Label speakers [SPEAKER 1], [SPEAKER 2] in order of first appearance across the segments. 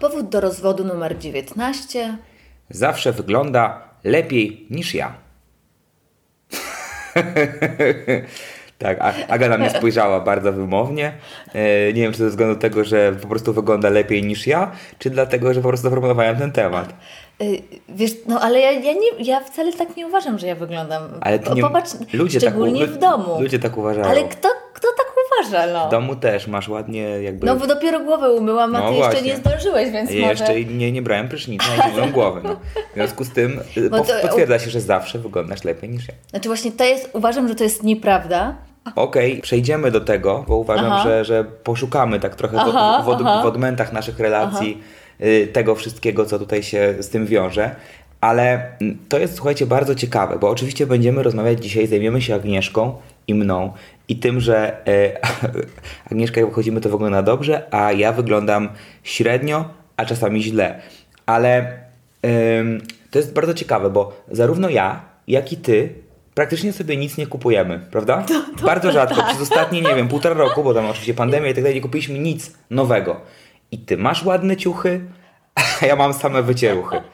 [SPEAKER 1] Powód do rozwodu numer 19.
[SPEAKER 2] Zawsze wygląda lepiej niż ja. tak, a- Aga na mnie spojrzała bardzo wymownie. E, Nie wiem, czy ze względu tego, że po prostu wygląda lepiej niż ja, czy dlatego, że po prostu zaproponowałem ten temat.
[SPEAKER 1] Y, Wiesz, no ale ja, ja, nie, ja wcale tak nie uważam, że ja wyglądam.
[SPEAKER 2] Ale ty
[SPEAKER 1] Po-
[SPEAKER 2] nie,
[SPEAKER 1] Popatrz, szczególnie
[SPEAKER 2] lu-
[SPEAKER 1] w domu.
[SPEAKER 2] Ludzie tak uważają.
[SPEAKER 1] ale kto, kto tak uważa, no?
[SPEAKER 2] W domu też masz ładnie jakby...
[SPEAKER 1] No bo dopiero głowę umyłam, a
[SPEAKER 2] No
[SPEAKER 1] ty jeszcze
[SPEAKER 2] właśnie.
[SPEAKER 1] nie zdążyłeś, więc
[SPEAKER 2] Ja
[SPEAKER 1] może...
[SPEAKER 2] jeszcze nie, nie brałem prysznica i nie myłem głowy. No. W związku z tym y,
[SPEAKER 1] Bo
[SPEAKER 2] pow-
[SPEAKER 1] to-
[SPEAKER 2] potwierdza się, że zawsze wyglądasz lepiej niż ja.
[SPEAKER 1] Znaczy właśnie to jest, uważam, że to jest nieprawda.
[SPEAKER 2] Okej, przejdziemy do tego, bo uważam,
[SPEAKER 1] Aha.
[SPEAKER 2] że, że poszukamy tak trochę
[SPEAKER 1] Aha,
[SPEAKER 2] w, w,
[SPEAKER 1] aha.
[SPEAKER 2] w odmętach naszych relacji y, tego wszystkiego, co tutaj się z tym wiąże. Ale mm, to jest, słuchajcie, bardzo ciekawe, bo oczywiście będziemy rozmawiać dzisiaj, zajmiemy się Agnieszką i mną i tym, że y, Agnieszka jak wychodzimy to wygląda dobrze, a ja wyglądam średnio, a czasami źle. Ale ym, to jest bardzo ciekawe, bo zarówno ja, jak i ty praktycznie sobie nic nie kupujemy, prawda? Bardzo rzadko. Przez ostatnie, nie wiem, półtora roku, bo tam oczywiście pandemia i tak dalej, nie kupiliśmy nic nowego. I ty masz ładne ciuchy, a ja mam same wycieruchy.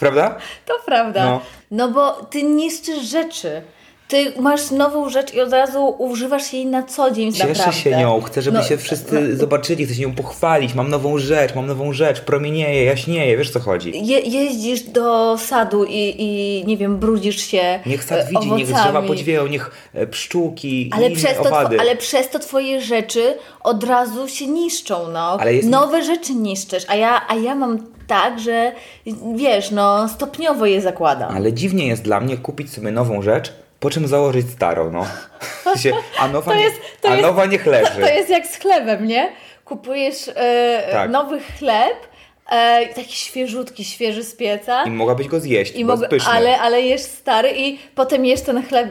[SPEAKER 2] Prawda?
[SPEAKER 1] To prawda. No.
[SPEAKER 2] No.
[SPEAKER 1] bo ty niszczysz rzeczy. Ty masz nową rzecz i od razu używasz jej na co dzień
[SPEAKER 2] Cieszę
[SPEAKER 1] naprawdę.
[SPEAKER 2] się nią, chcę, żeby
[SPEAKER 1] No,
[SPEAKER 2] się wszyscy zobaczyli, chcę się nią pochwalić. Mam nową rzecz, mam nową rzecz, promienieje, jaśnieje, wiesz o co chodzi.
[SPEAKER 1] Je, jeździsz do sadu i, i nie wiem, brudzisz się
[SPEAKER 2] Niech sad
[SPEAKER 1] e,
[SPEAKER 2] widzi,
[SPEAKER 1] owocami.
[SPEAKER 2] niech drzewa podziwieją, niech e, pszczółki
[SPEAKER 1] ale
[SPEAKER 2] i
[SPEAKER 1] przez,
[SPEAKER 2] inne
[SPEAKER 1] to,
[SPEAKER 2] owady.
[SPEAKER 1] ale przez to twoje rzeczy od razu się niszczą, no.
[SPEAKER 2] Ale jest-
[SPEAKER 1] Nowe rzeczy niszczysz, a ja, a ja mam tak, że wiesz, no stopniowo je zakładam.
[SPEAKER 2] Ale dziwnie jest dla mnie kupić sobie nową rzecz, po czym założyć starą, no. W sensie, a nowa,
[SPEAKER 1] To
[SPEAKER 2] nie-
[SPEAKER 1] jest- to
[SPEAKER 2] a
[SPEAKER 1] jest-
[SPEAKER 2] nowa niech
[SPEAKER 1] To
[SPEAKER 2] leży.
[SPEAKER 1] jest jak z chlebem, nie? Kupujesz e,
[SPEAKER 2] Tak.
[SPEAKER 1] nowy chleb, e, taki świeżutki, świeży z pieca,
[SPEAKER 2] I mogłabyś go zjeść,
[SPEAKER 1] i
[SPEAKER 2] bo
[SPEAKER 1] mogę-
[SPEAKER 2] jest pyszny.
[SPEAKER 1] ale, ale jesz stary i potem jesz ten chleb,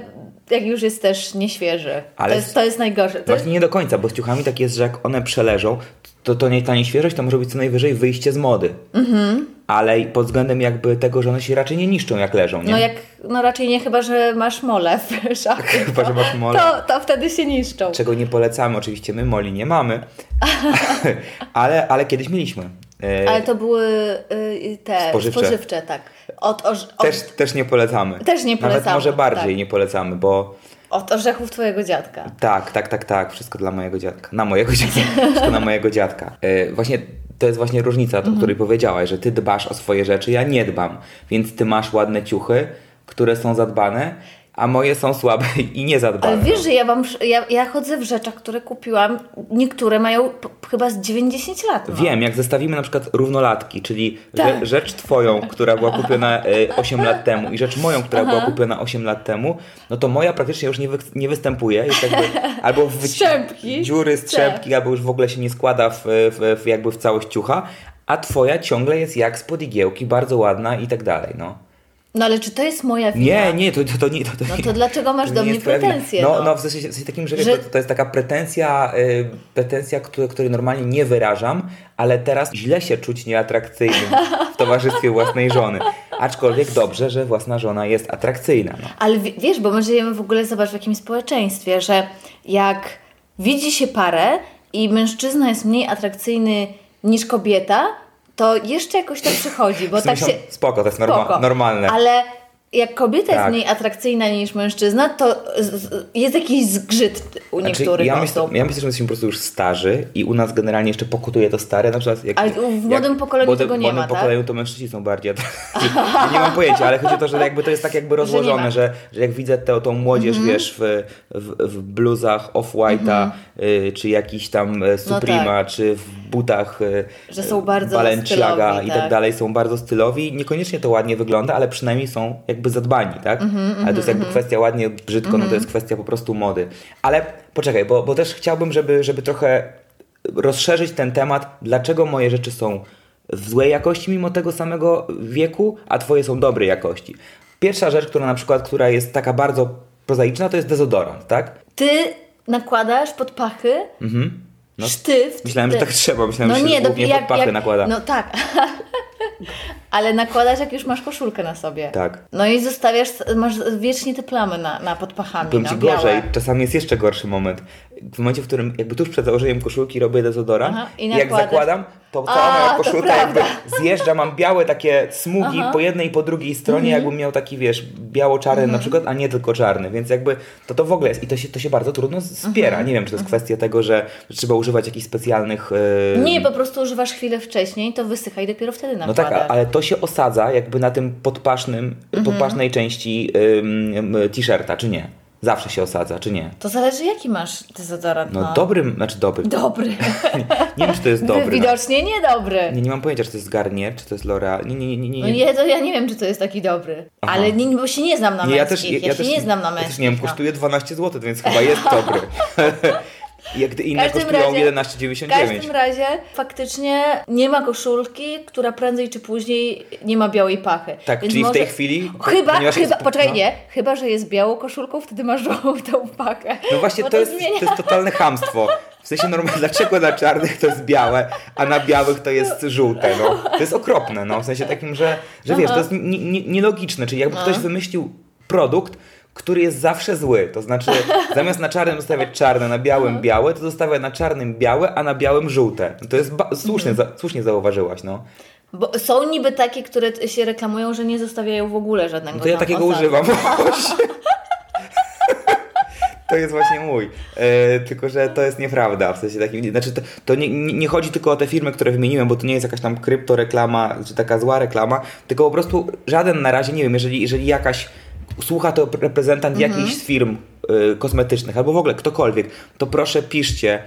[SPEAKER 1] jak już jest też nieświeży.
[SPEAKER 2] Ale
[SPEAKER 1] to, jest, to jest najgorsze. To jest,
[SPEAKER 2] Właśnie nie do końca, bo z ciuchami tak jest, że jak one przeleżą, to, to nie ta nieświeżość, to może być co najwyżej wyjście z mody.
[SPEAKER 1] Mhm.
[SPEAKER 2] Ale i pod względem jakby tego, że one się raczej nie niszczą jak leżą, nie?
[SPEAKER 1] no jak, no raczej nie, chyba że masz mole w szafie.
[SPEAKER 2] Chyba, że masz mole.
[SPEAKER 1] To, to wtedy się niszczą.
[SPEAKER 2] Czego nie polecamy, oczywiście my moli nie mamy, ale, ale kiedyś mieliśmy. E,
[SPEAKER 1] Ale to były y, te
[SPEAKER 2] Spożywcze.
[SPEAKER 1] spożywcze tak. Od, orz, od,
[SPEAKER 2] też, też nie polecamy.
[SPEAKER 1] Też nie
[SPEAKER 2] Nawet
[SPEAKER 1] polecamy,
[SPEAKER 2] może bardziej
[SPEAKER 1] tak.
[SPEAKER 2] nie polecamy, bo
[SPEAKER 1] od orzechów twojego dziadka.
[SPEAKER 2] Tak, tak, tak, tak. Wszystko dla mojego dziadka. Na mojego dziadka. Wszystko na mojego dziadka. E, właśnie to jest właśnie różnica, o
[SPEAKER 1] Mhm.
[SPEAKER 2] której powiedziałaś, że ty dbasz o swoje rzeczy, ja nie dbam. Więc ty masz ładne ciuchy, które są zadbane, a moje są słabe i niezadbane.
[SPEAKER 1] Ale wiesz, że ja mam, ja, ja chodzę w rzeczach, które kupiłam, niektóre mają p- chyba z 90 lat. No.
[SPEAKER 2] Wiem, jak zestawimy na przykład równolatki, czyli
[SPEAKER 1] Tak.
[SPEAKER 2] rze- rzecz twoją, która była kupiona e, 8 lat temu i rzecz moją, która była kupiona 8 lat temu, no to moja praktycznie już nie, wy, nie występuje. Jest jakby, albo w wyci-
[SPEAKER 1] Strzępki.
[SPEAKER 2] dziury, strzępki, albo już w ogóle się nie składa w, w, w, jakby w całość ciucha, a twoja ciągle jest jak spod igiełki, bardzo ładna i tak dalej, no.
[SPEAKER 1] No ale czy to jest moja wina?
[SPEAKER 2] Nie, nie, to, to, to nie... To, to
[SPEAKER 1] Tak? No
[SPEAKER 2] nie.
[SPEAKER 1] to dlaczego masz
[SPEAKER 2] To
[SPEAKER 1] do
[SPEAKER 2] nie
[SPEAKER 1] mnie
[SPEAKER 2] jest twoja wina.
[SPEAKER 1] pretensje?
[SPEAKER 2] No, no. w sensie, w sensie takim, że, wiesz,
[SPEAKER 1] Że-
[SPEAKER 2] To, to jest taka pretensja, y, pretensja której, której normalnie nie wyrażam, ale teraz źle się czuć nieatrakcyjnym w towarzystwie własnej żony. Aczkolwiek dobrze, że własna żona jest atrakcyjna. No.
[SPEAKER 1] Ale wi- wiesz, bo my żyjemy w ogóle, zobacz, w jakim społeczeństwie, że jak widzi się parę i mężczyzna jest mniej atrakcyjny niż kobieta, to jeszcze jakoś to przychodzi, bo
[SPEAKER 2] W sumie
[SPEAKER 1] tak się...
[SPEAKER 2] są- Spoko, to jest norma-
[SPEAKER 1] Spoko.
[SPEAKER 2] normalne.
[SPEAKER 1] Ale jak kobieta jest
[SPEAKER 2] Tak.
[SPEAKER 1] mniej atrakcyjna niż mężczyzna, to z, z, jest jakiś zgrzyt u
[SPEAKER 2] Znaczy,
[SPEAKER 1] niektórych
[SPEAKER 2] ja, myślę,
[SPEAKER 1] osób.
[SPEAKER 2] ja myślę, że my jesteśmy po prostu już starzy i u nas generalnie jeszcze pokutuje to stare. Na przykład jak,
[SPEAKER 1] Ale w młodym pokoleniu tego nie
[SPEAKER 2] W młodym
[SPEAKER 1] ma, tak?
[SPEAKER 2] pokoleniu to mężczyźni są bardziej. ja nie mam pojęcia, ale chodzi o to, że jakby to jest tak jakby
[SPEAKER 1] nie
[SPEAKER 2] rozłożone,
[SPEAKER 1] ma. Mhm.
[SPEAKER 2] że, że, jak widzę tę, tą młodzież, wiesz, w, w, w bluzach off-white'a, y, czy jakiś tam
[SPEAKER 1] No
[SPEAKER 2] e, Suprema,
[SPEAKER 1] tak.
[SPEAKER 2] czy w butach y,
[SPEAKER 1] Że są bardzo
[SPEAKER 2] Balenciaga
[SPEAKER 1] stylowi,
[SPEAKER 2] i tak
[SPEAKER 1] tak.
[SPEAKER 2] dalej, są bardzo stylowi. Niekoniecznie to ładnie wygląda, ale przynajmniej są jakby zadbani, tak?
[SPEAKER 1] Mhm,
[SPEAKER 2] ale to jest jakby kwestia ładnie, brzydko, no to jest kwestia po prostu mody. Ale poczekaj, bo, bo też chciałbym, żeby, żeby trochę rozszerzyć ten temat, dlaczego moje rzeczy są w złej jakości mimo tego samego wieku, a twoje są dobrej jakości. Pierwsza rzecz, która na przykład, która jest taka bardzo prozaiczna, to jest dezodorant, tak?
[SPEAKER 1] Ty nakładasz pod pachy
[SPEAKER 2] No,
[SPEAKER 1] sztyft.
[SPEAKER 2] Myślałem, że
[SPEAKER 1] ty-
[SPEAKER 2] tak trzeba, myślałem, że się głównie pod pachy nakłada.
[SPEAKER 1] No tak. Ale nakładasz, jak już masz koszulkę na sobie.
[SPEAKER 2] Tak.
[SPEAKER 1] No i zostawiasz, masz wiecznie te plamy na, na pod pachami.
[SPEAKER 2] Powiem
[SPEAKER 1] no,
[SPEAKER 2] ci
[SPEAKER 1] białe.
[SPEAKER 2] gorzej, czasami jest jeszcze gorszy moment. W momencie, w którym jakby tuż przed założeniem koszulki robię dezodorant
[SPEAKER 1] Aha, i
[SPEAKER 2] i jak
[SPEAKER 1] nakładasz.
[SPEAKER 2] zakładam, to cała
[SPEAKER 1] A,
[SPEAKER 2] moja
[SPEAKER 1] to
[SPEAKER 2] koszulka jakby
[SPEAKER 1] prawda.
[SPEAKER 2] zjeżdża, mam białe takie smugi
[SPEAKER 1] Aha. Mhm.
[SPEAKER 2] po jednej i po drugiej stronie, jakbym miał taki, wiesz, biało-czarny na przykład, a nie tylko czarny, więc jakby to to w ogóle jest i to się, to się bardzo trudno zbiera.
[SPEAKER 1] Mhm.
[SPEAKER 2] Nie wiem, czy to jest kwestia tego, że trzeba używać jakichś specjalnych... yy,
[SPEAKER 1] Nie, po prostu używasz chwilę wcześniej, to wysycha i dopiero wtedy
[SPEAKER 2] no
[SPEAKER 1] nakładasz.
[SPEAKER 2] tak, a- ale to się osadza jakby na tym podpasznym,
[SPEAKER 1] Mhm.
[SPEAKER 2] podpasznej części ym, ym, t-shirta, czy nie? Zawsze się osadza, czy nie?
[SPEAKER 1] To zależy, jaki masz dezodorant.
[SPEAKER 2] No, dobrym, znaczy dobry.
[SPEAKER 1] Dobry.
[SPEAKER 2] Nie wiem, czy to jest dobry. No.
[SPEAKER 1] Widocznie niedobry.
[SPEAKER 2] Nie, nie mam pojęcia, czy to jest Garnier, czy to jest Lora. Nie, nie, nie, nie.
[SPEAKER 1] No
[SPEAKER 2] nie.
[SPEAKER 1] nie, to ja nie wiem, czy to jest taki dobry.
[SPEAKER 2] Aha.
[SPEAKER 1] Ale nie, bo się nie znam na
[SPEAKER 2] Nie,
[SPEAKER 1] męskich. Ja, się nie znam na
[SPEAKER 2] ja
[SPEAKER 1] męskich.
[SPEAKER 2] też nie wiem,
[SPEAKER 1] no.
[SPEAKER 2] kosztuje 12 zł, więc chyba jest dobry. Jak gdy inne
[SPEAKER 1] każdym
[SPEAKER 2] kosztują
[SPEAKER 1] razie- W
[SPEAKER 2] 11,99.
[SPEAKER 1] każdym razie faktycznie nie ma koszulki, która prędzej czy później nie ma białej pachy.
[SPEAKER 2] Tak,
[SPEAKER 1] Więc
[SPEAKER 2] czyli
[SPEAKER 1] może-
[SPEAKER 2] w tej chwili. po-
[SPEAKER 1] Chyba,
[SPEAKER 2] ponieważ
[SPEAKER 1] chyba
[SPEAKER 2] jest-
[SPEAKER 1] poczekaj,
[SPEAKER 2] no.
[SPEAKER 1] nie. Chyba, że jest białą koszulką, wtedy masz żółtą pakę.
[SPEAKER 2] No właśnie,
[SPEAKER 1] Bo
[SPEAKER 2] to jest,
[SPEAKER 1] zmienia-
[SPEAKER 2] to jest totalne chamstwo. W sensie normalnie, dlaczego na czarnych to jest białe, a na białych to jest żółte, no. To jest okropne, no. W sensie takim, że, że wiesz, to jest ni- ni- nielogiczne. Czyli jakby ktoś wymyślił produkt, który jest zawsze zły. To znaczy, zamiast na czarnym zostawiać czarne, na białym białe, to zostawia na czarnym białe, a na białym żółte. No To jest ba- słusznie, za- słusznie zauważyłaś, no.
[SPEAKER 1] Bo są niby takie, które t- się reklamują, że nie zostawiają w ogóle żadnego
[SPEAKER 2] No to ja
[SPEAKER 1] tam
[SPEAKER 2] takiego
[SPEAKER 1] osadu.
[SPEAKER 2] używam. właśnie. To jest właśnie mój. E, tylko, że to jest nieprawda. W sensie takim, znaczy to, to nie, nie nie chodzi tylko o te firmy, które wymieniłem, bo to nie jest jakaś tam kryptoreklama, czy taka zła reklama, tylko po prostu żaden na razie, nie wiem, jeżeli, jeżeli jakaś słucha to reprezentant jakiejś z firm e, kosmetycznych, albo w ogóle ktokolwiek, to proszę piszcie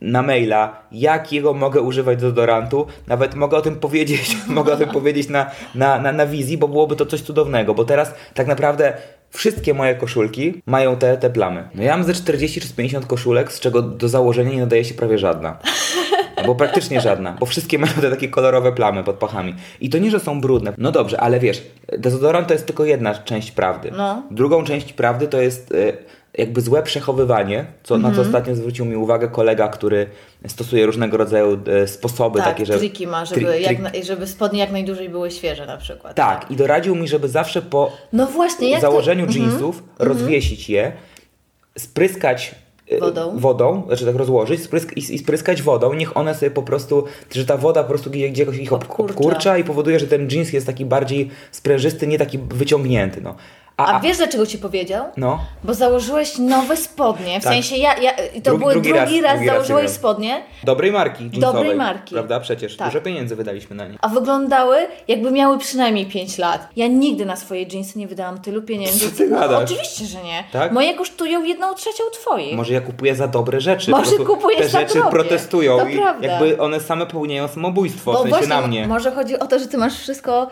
[SPEAKER 2] na maila, jakiego mogę używać deodorantu, nawet mogę o tym powiedzieć, mogę o tym powiedzieć na, na, na, na wizji, bo byłoby to coś cudownego, bo teraz tak naprawdę wszystkie moje koszulki mają te, te plamy. No ja mam ze 40 czy z 50 koszulek, z czego do założenia nie nadaje się prawie żadna. Albo praktycznie żadna, bo wszystkie mają te takie kolorowe plamy pod pachami. I to nie, że są brudne. No dobrze, ale wiesz, dezodorant to jest tylko jedna część prawdy.
[SPEAKER 1] No.
[SPEAKER 2] Drugą część prawdy to jest y, jakby złe przechowywanie, co, na co
[SPEAKER 1] Mhm.
[SPEAKER 2] ostatnio zwrócił mi uwagę kolega, który stosuje różnego rodzaju y, sposoby
[SPEAKER 1] tak,
[SPEAKER 2] takie, że...
[SPEAKER 1] triki ma, żeby,
[SPEAKER 2] tri- tri-
[SPEAKER 1] jak na, żeby spodnie jak najdłużej były świeże na przykład.
[SPEAKER 2] Tak, i doradził mi, żeby zawsze po
[SPEAKER 1] No właśnie, jak
[SPEAKER 2] założeniu
[SPEAKER 1] to... Mhm.
[SPEAKER 2] jeansów rozwiesić je, spryskać e,
[SPEAKER 1] Wodą.
[SPEAKER 2] wodą znaczy tak rozłożyć sprysk, i, i spryskać wodą, niech one sobie po prostu, że ta woda po prostu gdzie- gdzieś ich obkurcza.
[SPEAKER 1] Obkurcza.
[SPEAKER 2] obkurcza i powoduje, że ten jeans jest taki bardziej sprężysty, nie taki wyciągnięty. No. A,
[SPEAKER 1] A
[SPEAKER 2] a,
[SPEAKER 1] wiesz dlaczego ci powiedział?
[SPEAKER 2] no,
[SPEAKER 1] Bo założyłeś nowe spodnie. W
[SPEAKER 2] Tak.
[SPEAKER 1] sensie ja, ja i to
[SPEAKER 2] Drugi-
[SPEAKER 1] były
[SPEAKER 2] drugi
[SPEAKER 1] drugi,
[SPEAKER 2] raz-
[SPEAKER 1] raz,
[SPEAKER 2] drugi raz
[SPEAKER 1] założyłeś
[SPEAKER 2] robiłem.
[SPEAKER 1] spodnie,
[SPEAKER 2] dobrej marki jeansowej.
[SPEAKER 1] marki.
[SPEAKER 2] Prawda? Przecież
[SPEAKER 1] Tak.
[SPEAKER 2] dużo pieniędzy wydaliśmy na nie.
[SPEAKER 1] a wyglądały jakby miały przynajmniej 5 lat. Ja nigdy na swoje jeansy nie wydałam tylu pieniędzy.
[SPEAKER 2] Co ty
[SPEAKER 1] no,
[SPEAKER 2] gadasz?
[SPEAKER 1] oczywiście, że nie.
[SPEAKER 2] Tak?
[SPEAKER 1] Moje kosztują jedną trzecią twoich.
[SPEAKER 2] Może ja kupuję za dobre rzeczy.
[SPEAKER 1] Może
[SPEAKER 2] po prostu
[SPEAKER 1] kupujesz
[SPEAKER 2] Te
[SPEAKER 1] za
[SPEAKER 2] rzeczy
[SPEAKER 1] drobie.
[SPEAKER 2] protestują
[SPEAKER 1] To
[SPEAKER 2] i
[SPEAKER 1] prawda.
[SPEAKER 2] jakby one same popełniają samobójstwo, w sensie na mnie.
[SPEAKER 1] Może chodzi o to, że ty masz wszystko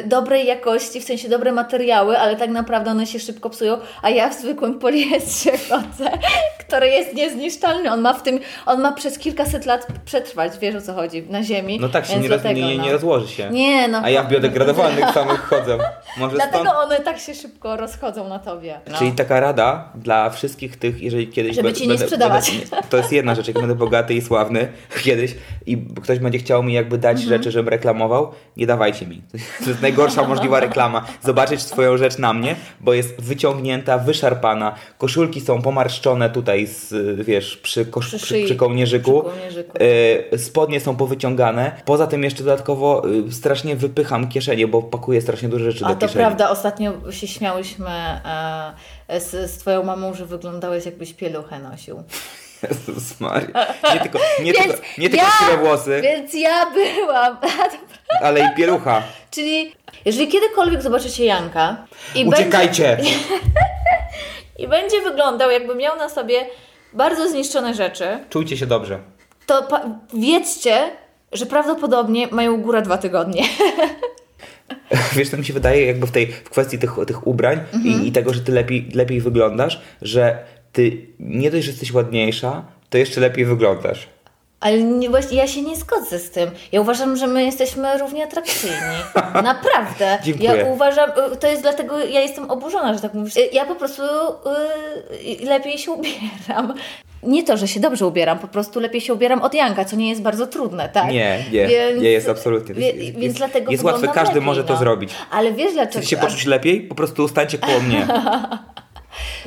[SPEAKER 1] y, dobrej jakości, w sensie dobre materiały, ale tak naprawdę one się szybko psują, a ja w zwykłym poliestrze chodzę, który jest niezniszczalny. On ma w tym, on ma przez kilkaset lat przetrwać, wiesz o co chodzi, na ziemi.
[SPEAKER 2] No tak się
[SPEAKER 1] Więc
[SPEAKER 2] nie, roz,
[SPEAKER 1] dlatego,
[SPEAKER 2] nie,
[SPEAKER 1] no.
[SPEAKER 2] nie rozłoży się.
[SPEAKER 1] Nie, no.
[SPEAKER 2] A ja w biodegradowanych samych chodzę. Może
[SPEAKER 1] Dlatego
[SPEAKER 2] stąd...
[SPEAKER 1] one tak się szybko rozchodzą na tobie. No.
[SPEAKER 2] Czyli taka rada dla wszystkich tych, jeżeli kiedyś...
[SPEAKER 1] Żeby
[SPEAKER 2] be-
[SPEAKER 1] ci nie sprzedawać.
[SPEAKER 2] Będę, to jest jedna rzecz, jak będę bogaty i sławny kiedyś i ktoś będzie chciał mi jakby dać
[SPEAKER 1] Mhm.
[SPEAKER 2] rzeczy, żebym reklamował, nie dawajcie mi. To jest najgorsza możliwa reklama. Zobaczyć swoją rzecz na mnie, bo jest wyciągnięta, wyszarpana, koszulki są pomarszczone tutaj, z, wiesz, przy, kosz,
[SPEAKER 1] Przy
[SPEAKER 2] przy,
[SPEAKER 1] szyi.
[SPEAKER 2] przy kołnierzyku.
[SPEAKER 1] Przy kołnierzyku.
[SPEAKER 2] E, spodnie są powyciągane. Poza tym jeszcze dodatkowo e, strasznie wypycham kieszenie, bo pakuję strasznie dużo rzeczy
[SPEAKER 1] A
[SPEAKER 2] do
[SPEAKER 1] to
[SPEAKER 2] kieszeni.
[SPEAKER 1] prawda, ostatnio się śmiałyśmy e, z, z twoją mamą, że wyglądałeś jakbyś pieluchę nosił.
[SPEAKER 2] Jezus Maria. Nie tylko, nie
[SPEAKER 1] Więc
[SPEAKER 2] tylko, nie tylko
[SPEAKER 1] ja-
[SPEAKER 2] siwe włosy,
[SPEAKER 1] Więc ja byłam.
[SPEAKER 2] ale i pielucha.
[SPEAKER 1] Czyli jeżeli kiedykolwiek zobaczycie Janka i, będzie,
[SPEAKER 2] Uciekajcie!
[SPEAKER 1] i będzie wyglądał, jakby miał na sobie bardzo zniszczone rzeczy,
[SPEAKER 2] Czujcie się dobrze.
[SPEAKER 1] to pa- wiedzcie, że prawdopodobnie mają góra dwa tygodnie.
[SPEAKER 2] Wiesz, co mi się wydaje jakby w tej w kwestii tych, tych ubrań
[SPEAKER 1] Mhm.
[SPEAKER 2] i, i tego, że ty lepiej, lepiej wyglądasz, że ty nie dość, że jesteś ładniejsza, to jeszcze lepiej wyglądasz.
[SPEAKER 1] Ale nie, właśnie ja się nie zgodzę z tym. Ja uważam, że my jesteśmy równie atrakcyjni. Naprawdę.
[SPEAKER 2] Dziękuję.
[SPEAKER 1] Ja uważam, y, to jest dlatego, ja jestem oburzona, że tak mówisz. Y, Ja po prostu y, lepiej się ubieram. Nie to, że się dobrze ubieram, po prostu lepiej się ubieram od Janka, co nie jest bardzo trudne, tak?
[SPEAKER 2] Nie, nie,
[SPEAKER 1] Więc-
[SPEAKER 2] nie jest absolutnie. To
[SPEAKER 1] wie-
[SPEAKER 2] jest-
[SPEAKER 1] więc
[SPEAKER 2] jest-
[SPEAKER 1] dlatego
[SPEAKER 2] jest łatwe,
[SPEAKER 1] wyglądam
[SPEAKER 2] każdy
[SPEAKER 1] lepiej,
[SPEAKER 2] może to
[SPEAKER 1] no.
[SPEAKER 2] zrobić.
[SPEAKER 1] Ale wiesz dlaczego?
[SPEAKER 2] Chcecie się poczuć lepiej? Po prostu stańcie koło mnie.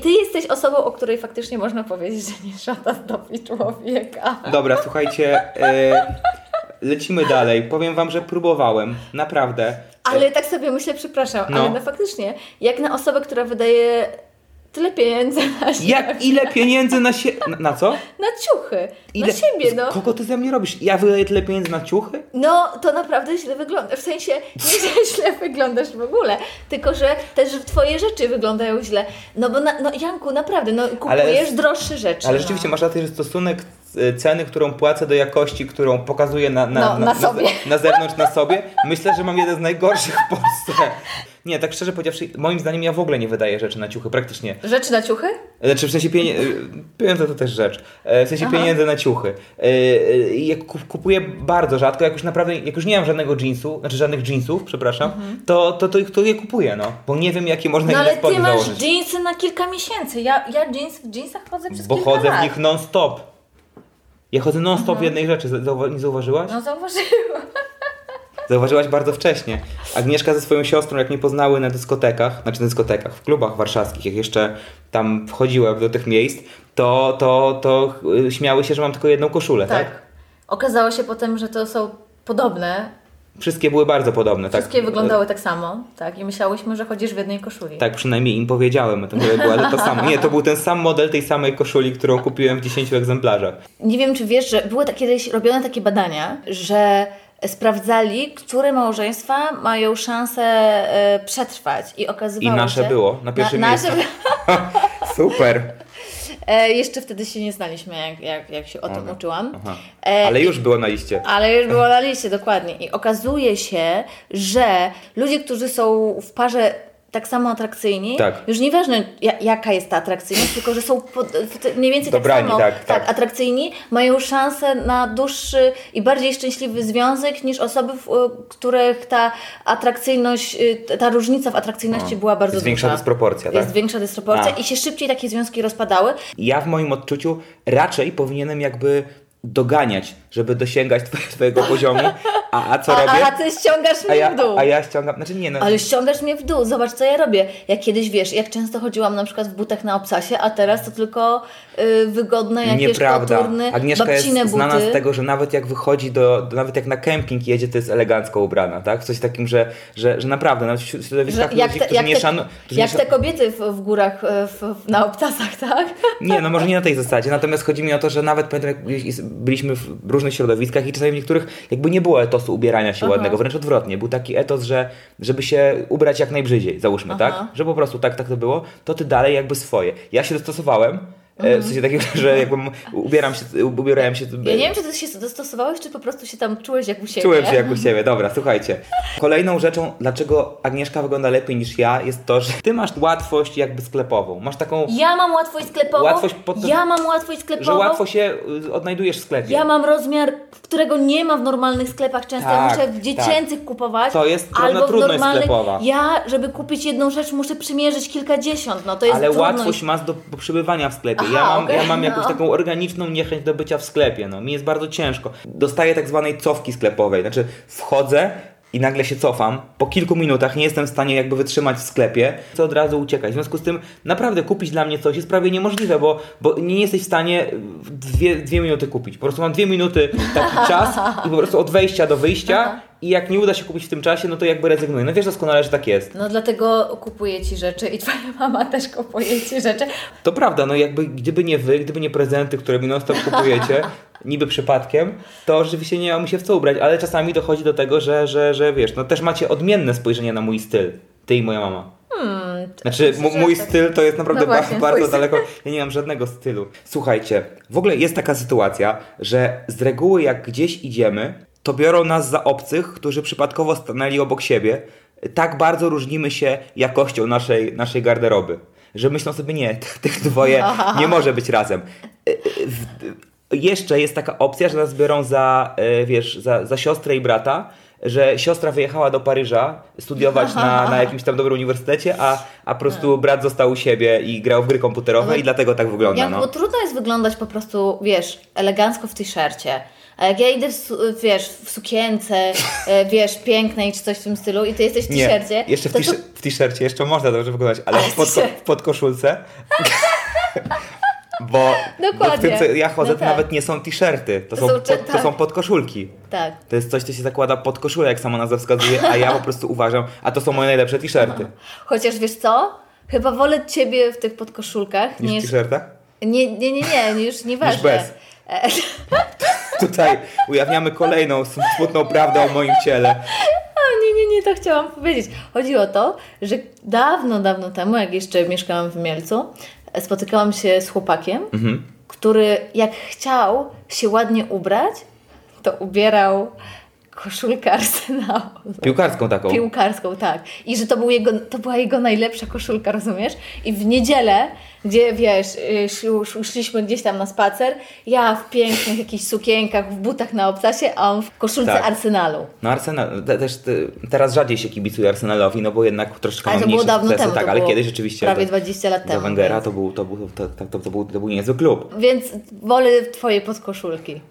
[SPEAKER 1] Ty jesteś osobą, o której faktycznie można powiedzieć, że nie szata zdobi człowieka.
[SPEAKER 2] Dobra, słuchajcie, e, lecimy dalej. Powiem wam, że próbowałem, naprawdę.
[SPEAKER 1] Ale tak sobie myślę, przepraszam,
[SPEAKER 2] No.
[SPEAKER 1] ale no faktycznie, jak na osobę, która wydaje tyle pieniędzy na siebie,
[SPEAKER 2] E, Jak ile pieniędzy na siebie. Na, na co?
[SPEAKER 1] na ciuchy,
[SPEAKER 2] Ile...
[SPEAKER 1] na siebie, no.
[SPEAKER 2] Kogo ty ze mnie robisz? Ja wydaję tyle pieniędzy na ciuchy?
[SPEAKER 1] No, to naprawdę źle wygląda. W sensie, nie że źle wyglądasz w ogóle, tylko że też twoje rzeczy wyglądają źle. No bo, na, no Janku, naprawdę, no kupujesz droższe rzeczy.
[SPEAKER 2] Ale
[SPEAKER 1] no.
[SPEAKER 2] rzeczywiście masz rację, że stosunek e, ceny, którą płacę do jakości, którą pokazuję na, na,
[SPEAKER 1] No, na sobie.
[SPEAKER 2] na zewnątrz, na sobie, myślę, że mam jeden z najgorszych w Polsce. Nie, tak szczerze powiedziawszy, moim zdaniem ja w ogóle nie wydaję rzeczy na ciuchy, praktycznie.
[SPEAKER 1] No. Rzeczy na ciuchy?
[SPEAKER 2] Znaczy w sensie pienie... pieniądze to też rzecz. E, W sensie
[SPEAKER 1] Aha.
[SPEAKER 2] pieniędzy na ciuchy. E, e, Jak ku- kupuję bardzo rzadko, jak już naprawdę, jak już nie mam żadnego jeansu, znaczy żadnych jeansów, przepraszam, to, to, to, ich- to je kupuję, no. Bo nie wiem, jakie można
[SPEAKER 1] Mhm. No
[SPEAKER 2] inne
[SPEAKER 1] ale
[SPEAKER 2] spodnie
[SPEAKER 1] ty masz
[SPEAKER 2] założyć.
[SPEAKER 1] jeansy na kilka miesięcy. Ja, ja jeans w jeansach chodzę przez
[SPEAKER 2] Bo
[SPEAKER 1] kilka
[SPEAKER 2] chodzę
[SPEAKER 1] lat.
[SPEAKER 2] w nich non-stop. Ja chodzę non-stop w jednej rzeczy, Zauwa- nie zauważyłaś?
[SPEAKER 1] Mhm. No zauważyłam.
[SPEAKER 2] Zauważyłaś bardzo wcześnie. Agnieszka ze swoją siostrą, jak mnie poznały na dyskotekach, znaczy na dyskotekach, w klubach warszawskich, jak jeszcze tam wchodziłem do tych miejsc, to, to, to y, śmiały się, że mam tylko jedną koszulę, tak?
[SPEAKER 1] Tak. Okazało się potem, że to są podobne.
[SPEAKER 2] Wszystkie były bardzo podobne, tak?
[SPEAKER 1] Wszystkie wyglądały tak samo, tak? I myślałyśmy, że chodzisz w jednej koszuli.
[SPEAKER 2] Tak, przynajmniej im powiedziałem, to nie było, ale to samo. Nie, to był ten sam model tej samej koszuli, którą kupiłem w 10 egzemplarzach.
[SPEAKER 1] Nie wiem, czy wiesz, że były tak kiedyś robione takie badania, że sprawdzali, które małżeństwa mają szansę e, przetrwać i okazywało
[SPEAKER 2] I nasze
[SPEAKER 1] się...
[SPEAKER 2] było, na pierwszym
[SPEAKER 1] nasze-
[SPEAKER 2] Super!
[SPEAKER 1] e, jeszcze wtedy się nie znaliśmy, jak, jak, jak się o tym uczyłam.
[SPEAKER 2] Aha.
[SPEAKER 1] E,
[SPEAKER 2] Ale już było na liście.
[SPEAKER 1] Ale już było na liście, dokładnie. I okazuje się, że ludzie, którzy są w parze tak samo atrakcyjni,
[SPEAKER 2] Tak.
[SPEAKER 1] już nieważne ja- jaka jest ta atrakcyjność, tylko że są pod, w te- mniej więcej
[SPEAKER 2] Dobrani,
[SPEAKER 1] tak samo
[SPEAKER 2] tak, tak.
[SPEAKER 1] atrakcyjni, mają szansę na dłuższy i bardziej szczęśliwy związek niż osoby, w, y, których ta atrakcyjność, y, t- ta różnica w atrakcyjności była bardzo
[SPEAKER 2] Jest większa
[SPEAKER 1] duża.
[SPEAKER 2] dysproporcja, tak?
[SPEAKER 1] Jest większa dysproporcja
[SPEAKER 2] A.
[SPEAKER 1] i się szybciej takie związki rozpadały.
[SPEAKER 2] Ja w moim odczuciu raczej powinienem jakby doganiać, żeby dosięgać twoje- twojego poziomu, a, a co
[SPEAKER 1] A,
[SPEAKER 2] robię?
[SPEAKER 1] a ty ściągasz mnie
[SPEAKER 2] a, ja,
[SPEAKER 1] w dół.
[SPEAKER 2] a ja ściągam, znaczy nie, no,
[SPEAKER 1] Ale ściągasz mnie w dół, zobacz co ja robię. Ja kiedyś, wiesz, jak często chodziłam na przykład w butach na obcasie, a teraz to tylko y, wygodne jakieś
[SPEAKER 2] nieprawda.
[SPEAKER 1] koturny,
[SPEAKER 2] Agnieszka jest
[SPEAKER 1] babcine
[SPEAKER 2] znana
[SPEAKER 1] buty.
[SPEAKER 2] z tego, że nawet jak wychodzi do, do, nawet jak na kemping jedzie, to jest elegancko ubrana, tak? W coś takim, że, że, że naprawdę, nawet w
[SPEAKER 1] że
[SPEAKER 2] środowiskach
[SPEAKER 1] jak
[SPEAKER 2] ludzi,
[SPEAKER 1] te,
[SPEAKER 2] którzy
[SPEAKER 1] jak,
[SPEAKER 2] nie
[SPEAKER 1] te,
[SPEAKER 2] szanują...
[SPEAKER 1] jak te kobiety w, w górach e, w, w, na obcasach, tak?
[SPEAKER 2] Nie, no może nie na tej zasadzie. Natomiast chodzi mi o to, że nawet pamiętam, jak byli- byliśmy w różnych środowiskach i czasami w niektórych jakby nie było etosu ubierania się
[SPEAKER 1] Aha.
[SPEAKER 2] ładnego, wręcz odwrotnie. Był taki etos, że żeby się ubrać jak najbrzydziej, załóżmy,
[SPEAKER 1] Aha.
[SPEAKER 2] tak? Że po prostu tak, tak to było, to ty dalej jakby swoje. Ja się dostosowałem, mhm. w sensie takim, że jakby ubieram się, ubierałem się...
[SPEAKER 1] Ja nie wiem, czy ty się dostosowałeś, czy po prostu się tam czułeś jak u siebie.
[SPEAKER 2] Czułem się jak u siebie, dobra, słuchajcie. Kolejną rzeczą, dlaczego Agnieszka wygląda lepiej niż ja, jest to, że ty masz łatwość jakby sklepową. Masz taką,
[SPEAKER 1] Ja mam łatwość sklepową,
[SPEAKER 2] Łatwość pod-
[SPEAKER 1] ja mam łatwość sklepową,
[SPEAKER 2] że łatwo się y, odnajdujesz w sklepie.
[SPEAKER 1] ja mam rozmiar, którego nie ma w normalnych sklepach często, ja
[SPEAKER 2] Tak,
[SPEAKER 1] muszę
[SPEAKER 2] tak.
[SPEAKER 1] w dziecięcych kupować.
[SPEAKER 2] To jest trudno-
[SPEAKER 1] albo w
[SPEAKER 2] trudność
[SPEAKER 1] normalnych-
[SPEAKER 2] sklepowa.
[SPEAKER 1] Ja, żeby kupić jedną rzecz, muszę przymierzyć kilkadziesiąt, no to jest
[SPEAKER 2] Ale
[SPEAKER 1] trudność.
[SPEAKER 2] łatwość masz do do przybywania w sklepie. ja
[SPEAKER 1] Aha,
[SPEAKER 2] mam, ja
[SPEAKER 1] okej,
[SPEAKER 2] mam jakąś
[SPEAKER 1] no.
[SPEAKER 2] taką organiczną niechęć do bycia w sklepie. No. Mi jest bardzo ciężko. Dostaję tak zwanej cofki sklepowej. Znaczy wchodzę i nagle się cofam. Po kilku minutach nie jestem w stanie jakby wytrzymać w sklepie. Chcę od razu uciekać. W związku z tym naprawdę kupić dla mnie coś jest prawie niemożliwe, bo, bo nie jesteś w stanie w dwie, dwie minuty kupić. Po prostu mam dwie minuty taki czas i po prostu od wejścia do wyjścia i jak nie uda się kupić w tym czasie, no to jakby rezygnuję. No wiesz doskonale, że tak jest.
[SPEAKER 1] No dlatego kupuję Ci rzeczy i Twoja mama też kupuje Ci rzeczy.
[SPEAKER 2] To prawda, no jakby gdyby nie wy, gdyby nie prezenty, które mi non stop kupujecie, niby przypadkiem, to rzeczywiście nie mam się w co ubrać, ale czasami dochodzi do tego, że, że, że wiesz, no też macie odmienne spojrzenie na mój styl, ty i moja mama.
[SPEAKER 1] Hmm,
[SPEAKER 2] Znaczy, m- mój styl to jest naprawdę
[SPEAKER 1] No właśnie,
[SPEAKER 2] ba- bardzo
[SPEAKER 1] twój styl.
[SPEAKER 2] daleko. Ja nie mam żadnego stylu. Słuchajcie, w ogóle jest taka sytuacja, że z reguły jak gdzieś idziemy, to biorą nas za obcych, którzy przypadkowo stanęli obok siebie. Tak bardzo różnimy się jakością naszej, naszej garderoby, że myślą sobie, nie, tych, tych dwoje nie może być razem. Y, y, E, w- jeszcze jest taka opcja, że nas biorą za, e, wiesz, za, za siostrę i brata, że siostra wyjechała do Paryża studiować na, na jakimś tam dobrym uniwersytecie, a, a po prostu brat został u siebie i grał w gry komputerowe
[SPEAKER 1] Ale-
[SPEAKER 2] i dlatego tak wygląda.
[SPEAKER 1] Jak, bo
[SPEAKER 2] No.
[SPEAKER 1] trudno jest wyglądać po prostu, wiesz, elegancko w t-shircie. A jak ja idę, w, su- wiesz, w sukience, e, wiesz, pięknej czy coś w tym stylu i ty jesteś w
[SPEAKER 2] Nie,
[SPEAKER 1] t-shircie,
[SPEAKER 2] jeszcze w
[SPEAKER 1] to tu-
[SPEAKER 2] tisz- w t-shircie jeszcze można dobrze wyglądać, ale w podko-
[SPEAKER 1] t-shirt.
[SPEAKER 2] w podkoszulce. Bo, bo w
[SPEAKER 1] Dokładnie.
[SPEAKER 2] tym, co ja chodzę,
[SPEAKER 1] No
[SPEAKER 2] to
[SPEAKER 1] tak.
[SPEAKER 2] nawet nie są t-shirty, to,
[SPEAKER 1] To
[SPEAKER 2] są,
[SPEAKER 1] są czy-
[SPEAKER 2] pod, to
[SPEAKER 1] tak.
[SPEAKER 2] są podkoszulki.
[SPEAKER 1] Tak.
[SPEAKER 2] To jest coś, co się zakłada pod koszulę, jak sama nazwa wskazuje, a ja po prostu uważam, a to są moje najlepsze t-shirty.
[SPEAKER 1] Chociaż wiesz co? Chyba wolę ciebie w tych podkoszulkach
[SPEAKER 2] Niż
[SPEAKER 1] niż...
[SPEAKER 2] w t-shirtach?
[SPEAKER 1] Nie, nie, nie, nie, już nieważne.
[SPEAKER 2] bez.
[SPEAKER 1] E,
[SPEAKER 2] Tutaj ujawniamy kolejną smutną prawdę o moim ciele.
[SPEAKER 1] A, nie, nie, nie, to chciałam powiedzieć. Chodzi o to, że dawno, dawno temu, jak jeszcze mieszkałam w Mielcu, e, spotykałam się z chłopakiem,
[SPEAKER 2] Mhm.
[SPEAKER 1] który jak chciał się ładnie ubrać, to ubierał koszulkę Arsenału.
[SPEAKER 2] Piłkarską taką.
[SPEAKER 1] Piłkarską, tak. I że to, był jego, to była jego najlepsza koszulka, rozumiesz? I w niedzielę, gdzie wiesz, y, szli- sz- szliśmy gdzieś tam na spacer, ja w pięknych jakichś sukienkach, w butach na obcasie, a on w koszulce
[SPEAKER 2] Tak.
[SPEAKER 1] Arsenalu.
[SPEAKER 2] No Arsenal, te, też te, teraz rzadziej się kibicuje Arsenalowi, no bo jednak troszeczkę
[SPEAKER 1] Ale
[SPEAKER 2] ma
[SPEAKER 1] to było
[SPEAKER 2] mniejsze
[SPEAKER 1] dawno
[SPEAKER 2] sukcesy,
[SPEAKER 1] temu.
[SPEAKER 2] tak,
[SPEAKER 1] to
[SPEAKER 2] ale
[SPEAKER 1] było
[SPEAKER 2] kiedyś rzeczywiście
[SPEAKER 1] Prawie
[SPEAKER 2] do,
[SPEAKER 1] 20 lat
[SPEAKER 2] do
[SPEAKER 1] temu.
[SPEAKER 2] Wengera
[SPEAKER 1] więc-
[SPEAKER 2] to był, to, był, to, to, to, to, był, to był niezły klub.
[SPEAKER 1] Więc wolę Twoje podkoszulki.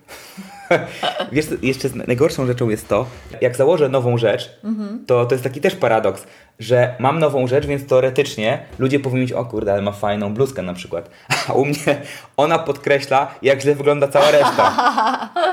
[SPEAKER 2] Wiesz, co, jeszcze z- najgorszą rzeczą jest to, jak założę nową rzecz, to, to jest taki też paradoks, że mam nową rzecz, więc teoretycznie ludzie powinni mieć, o kurde, ale ma fajną bluzkę na przykład. A u mnie ona podkreśla, jak źle wygląda cała reszta.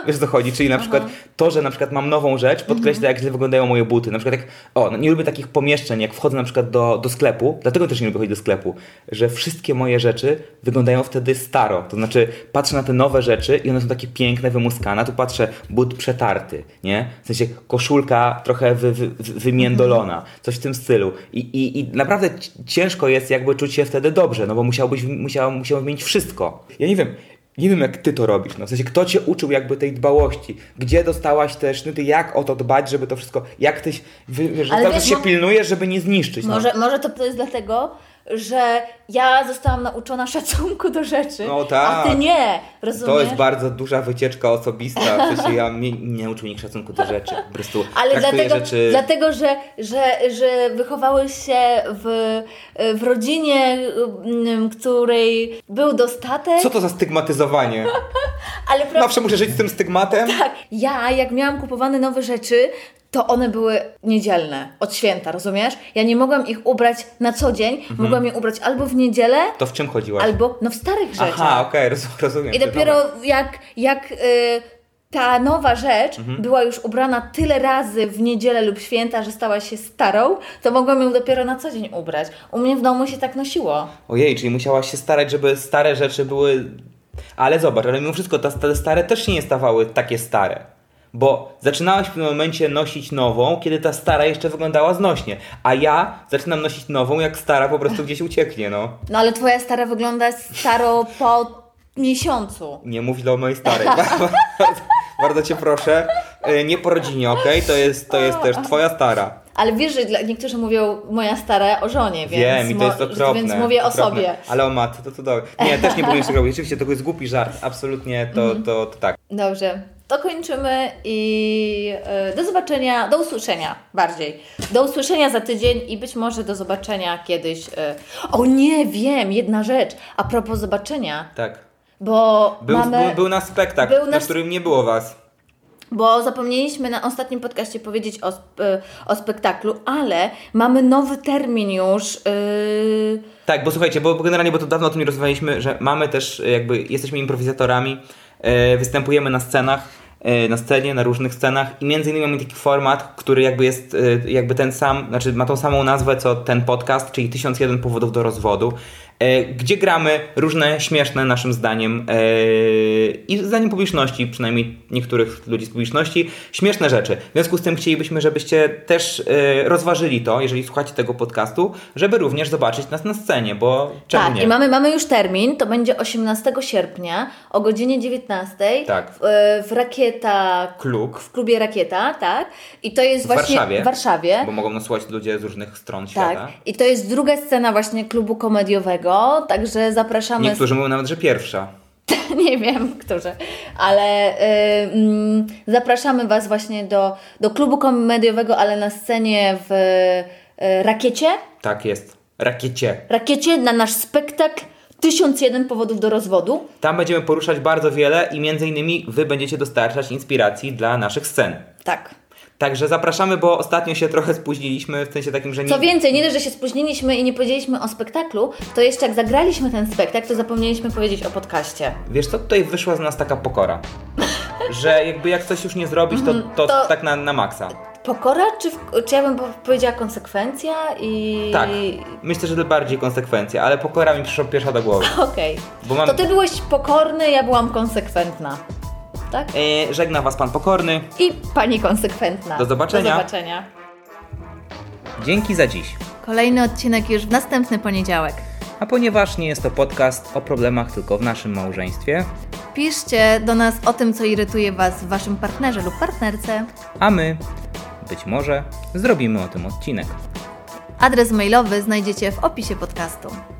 [SPEAKER 2] Wiesz o co chodzi? Czyli na przykład to, że na przykład mam nową rzecz, podkreśla, jak źle wyglądają moje buty. Na przykład jak, o, no nie lubię takich pomieszczeń, jak wchodzę na przykład do, do sklepu, dlatego też nie lubię chodzić do sklepu, że wszystkie moje rzeczy wyglądają wtedy staro. To znaczy patrzę na te nowe rzeczy i one są takie piękne, wymuskane, tu patrzę, but przetarty, nie? W sensie koszulka trochę wy, wy, wy- wymiędolona, coś w tym stylu. I, i, I naprawdę ci- ciężko jest jakby czuć się wtedy dobrze, no bo musiałbyś, musiał, musiał mieć wszystko. Ja nie wiem, nie wiem, jak ty to robisz. No, w sensie, kto cię uczył jakby tej dbałości? Gdzie dostałaś te sznyty? Jak o to dbać, żeby to wszystko... Jak tyś... Wy, wiesz, że
[SPEAKER 1] Ale
[SPEAKER 2] cały
[SPEAKER 1] wiesz,
[SPEAKER 2] czas się
[SPEAKER 1] mo-
[SPEAKER 2] pilnujesz, żeby nie zniszczyć. no.
[SPEAKER 1] Może, może to, to jest dlatego, że ja zostałam nauczona szacunku do rzeczy,
[SPEAKER 2] No tak.
[SPEAKER 1] a Ty nie.
[SPEAKER 2] no.
[SPEAKER 1] Rozumiesz?
[SPEAKER 2] To jest bardzo duża wycieczka osobista. W sensie, ja nie, nie uczył nikt szacunku do rzeczy. Po prostu
[SPEAKER 1] Ale
[SPEAKER 2] traktuję
[SPEAKER 1] dlatego,
[SPEAKER 2] rzeczy...
[SPEAKER 1] dlatego że, że, że wychowałeś się w, w rodzinie, m, której był dostatek,
[SPEAKER 2] Co to za stygmatyzowanie?
[SPEAKER 1] ale prawda,
[SPEAKER 2] Zawsze muszę żyć z tym stygmatem?
[SPEAKER 1] tak, ja jak miałam kupowane nowe rzeczy, to one były niedzielne, od święta, rozumiesz? Ja nie mogłam ich ubrać na co dzień,
[SPEAKER 2] Mhm.
[SPEAKER 1] mogłam je ubrać albo w niedzielę,
[SPEAKER 2] To w czym chodziłaś?
[SPEAKER 1] albo no w starych rzeczach.
[SPEAKER 2] Aha, okej, roz- rozumiem.
[SPEAKER 1] I
[SPEAKER 2] że dobra.
[SPEAKER 1] dopiero jak, jak y, ta nowa rzecz
[SPEAKER 2] Mhm.
[SPEAKER 1] była już ubrana tyle razy w niedzielę lub święta, że stała się starą, to mogłam ją dopiero na co dzień ubrać. U mnie w domu się tak nosiło.
[SPEAKER 2] Ojej, czyli musiałaś się starać, żeby stare rzeczy były. Ale zobacz, ale mimo wszystko ta- te stare też się nie stawały takie stare. Bo zaczynałaś w pewnym momencie nosić nową, kiedy ta stara jeszcze wyglądała znośnie. A ja zaczynam nosić nową, jak stara po prostu gdzieś ucieknie, no.
[SPEAKER 1] No ale twoja stara wygląda staro po miesiącu.
[SPEAKER 2] Nie mów źle o mojej starej. Bardzo- Bardzo cię proszę. E, Nie po rodzinie, okej? To, jest, to jest też twoja stara.
[SPEAKER 1] Ale wiesz, że dla, niektórzy mówią moja stara o żonie, więc,
[SPEAKER 2] Wiem, i to jest
[SPEAKER 1] mo-
[SPEAKER 2] okropne.
[SPEAKER 1] więc mówię
[SPEAKER 2] okropne.
[SPEAKER 1] o sobie.
[SPEAKER 2] Ale o matce, to cudownie. Nie, też nie powinieneś tego robić. Oczywiście, to jest głupi żart. Absolutnie, to,
[SPEAKER 1] Mhm.
[SPEAKER 2] to, to tak.
[SPEAKER 1] Dobrze, to kończymy i y, do zobaczenia, do usłyszenia bardziej. Do usłyszenia za tydzień i być może do zobaczenia kiedyś. y. O nie, wiem, jedna rzecz a propos zobaczenia,
[SPEAKER 2] Tak.
[SPEAKER 1] bo
[SPEAKER 2] Był,
[SPEAKER 1] mamy...
[SPEAKER 2] był, był nasz spektakl,
[SPEAKER 1] był
[SPEAKER 2] na
[SPEAKER 1] nasz-
[SPEAKER 2] którym nie było was.
[SPEAKER 1] Bo zapomnieliśmy na ostatnim podcaście powiedzieć o, sp- y, o spektaklu, ale mamy nowy termin już. y,
[SPEAKER 2] Tak, bo słuchajcie, bo bo generalnie, bo to dawno o tym nie rozmawialiśmy, że mamy też e, jakby, jesteśmy improwizatorami, e, występujemy na scenach, e, na scenie, na różnych scenach i między innymi mamy taki format, który jakby jest, e, jakby ten sam, znaczy ma tą samą nazwę co ten podcast, czyli 1001 powodów do rozwodu, e, gdzie gramy różne śmieszne naszym zdaniem e, i zdaniem publiczności, przynajmniej niektórych ludzi z publiczności, śmieszne rzeczy. W związku z tym chcielibyśmy, żebyście też e, rozważyli to, jeżeli słuchacie tego podcastu, żeby również zobaczyć nas na scenie, bo czemu
[SPEAKER 1] tak,
[SPEAKER 2] nie?
[SPEAKER 1] i mamy, mamy już termin, to będzie 18 sierpnia o godzinie 19
[SPEAKER 2] Tak.
[SPEAKER 1] w, e, w Rakieta
[SPEAKER 2] Kluk.
[SPEAKER 1] w klubie Rakieta, tak? I to jest właśnie
[SPEAKER 2] Warszawie.
[SPEAKER 1] w Warszawie.
[SPEAKER 2] Bo mogą nas słuchać ludzie z różnych stron
[SPEAKER 1] tak.
[SPEAKER 2] świata.
[SPEAKER 1] I to jest druga scena właśnie klubu komediowego, także zapraszamy.
[SPEAKER 2] Niektórzy mówią nawet, że pierwsza.
[SPEAKER 1] nie wiem, którzy, ale y, mm, zapraszamy Was właśnie do, do klubu komediowego, ale na scenie w y, Rakiecie.
[SPEAKER 2] Tak jest. Rakiecie.
[SPEAKER 1] Rakiecie na nasz spektakl 1001 powodów do rozwodu.
[SPEAKER 2] Tam będziemy poruszać bardzo wiele i między innymi wy będziecie dostarczać inspiracji dla naszych scen.
[SPEAKER 1] Tak.
[SPEAKER 2] Także zapraszamy, bo ostatnio się trochę spóźniliśmy, w sensie takim, że nie...
[SPEAKER 1] Co więcej, nie dość, że się spóźniliśmy i nie powiedzieliśmy o spektaklu, to jeszcze jak zagraliśmy ten spektakl, to zapomnieliśmy powiedzieć o podcaście.
[SPEAKER 2] Wiesz co, tutaj wyszła z nas taka pokora, że jakby jak coś już nie zrobić, to, to,
[SPEAKER 1] Mhm, to-
[SPEAKER 2] tak na, na maksa.
[SPEAKER 1] Pokora, czy, w, czy ja bym po- powiedziała konsekwencja i...
[SPEAKER 2] Tak, myślę, że to bardziej konsekwencje, ale pokora mi przyszła pierwsza do głowy.
[SPEAKER 1] Okej.
[SPEAKER 2] Bo mam-
[SPEAKER 1] To Ty byłeś pokorny, ja byłam konsekwentna. Tak?
[SPEAKER 2] E, żegna Was Pan Pokorny.
[SPEAKER 1] I Pani konsekwentna.
[SPEAKER 2] Do zobaczenia.
[SPEAKER 1] Do zobaczenia.
[SPEAKER 2] Dzięki za dziś.
[SPEAKER 1] Kolejny odcinek już w następny poniedziałek.
[SPEAKER 2] A ponieważ nie jest to podcast o problemach tylko w naszym małżeństwie,
[SPEAKER 1] Piszcie do nas o tym, co irytuje Was w Waszym partnerze lub partnerce.
[SPEAKER 2] a my być może zrobimy o tym odcinek.
[SPEAKER 1] Adres mailowy znajdziecie w opisie podcastu.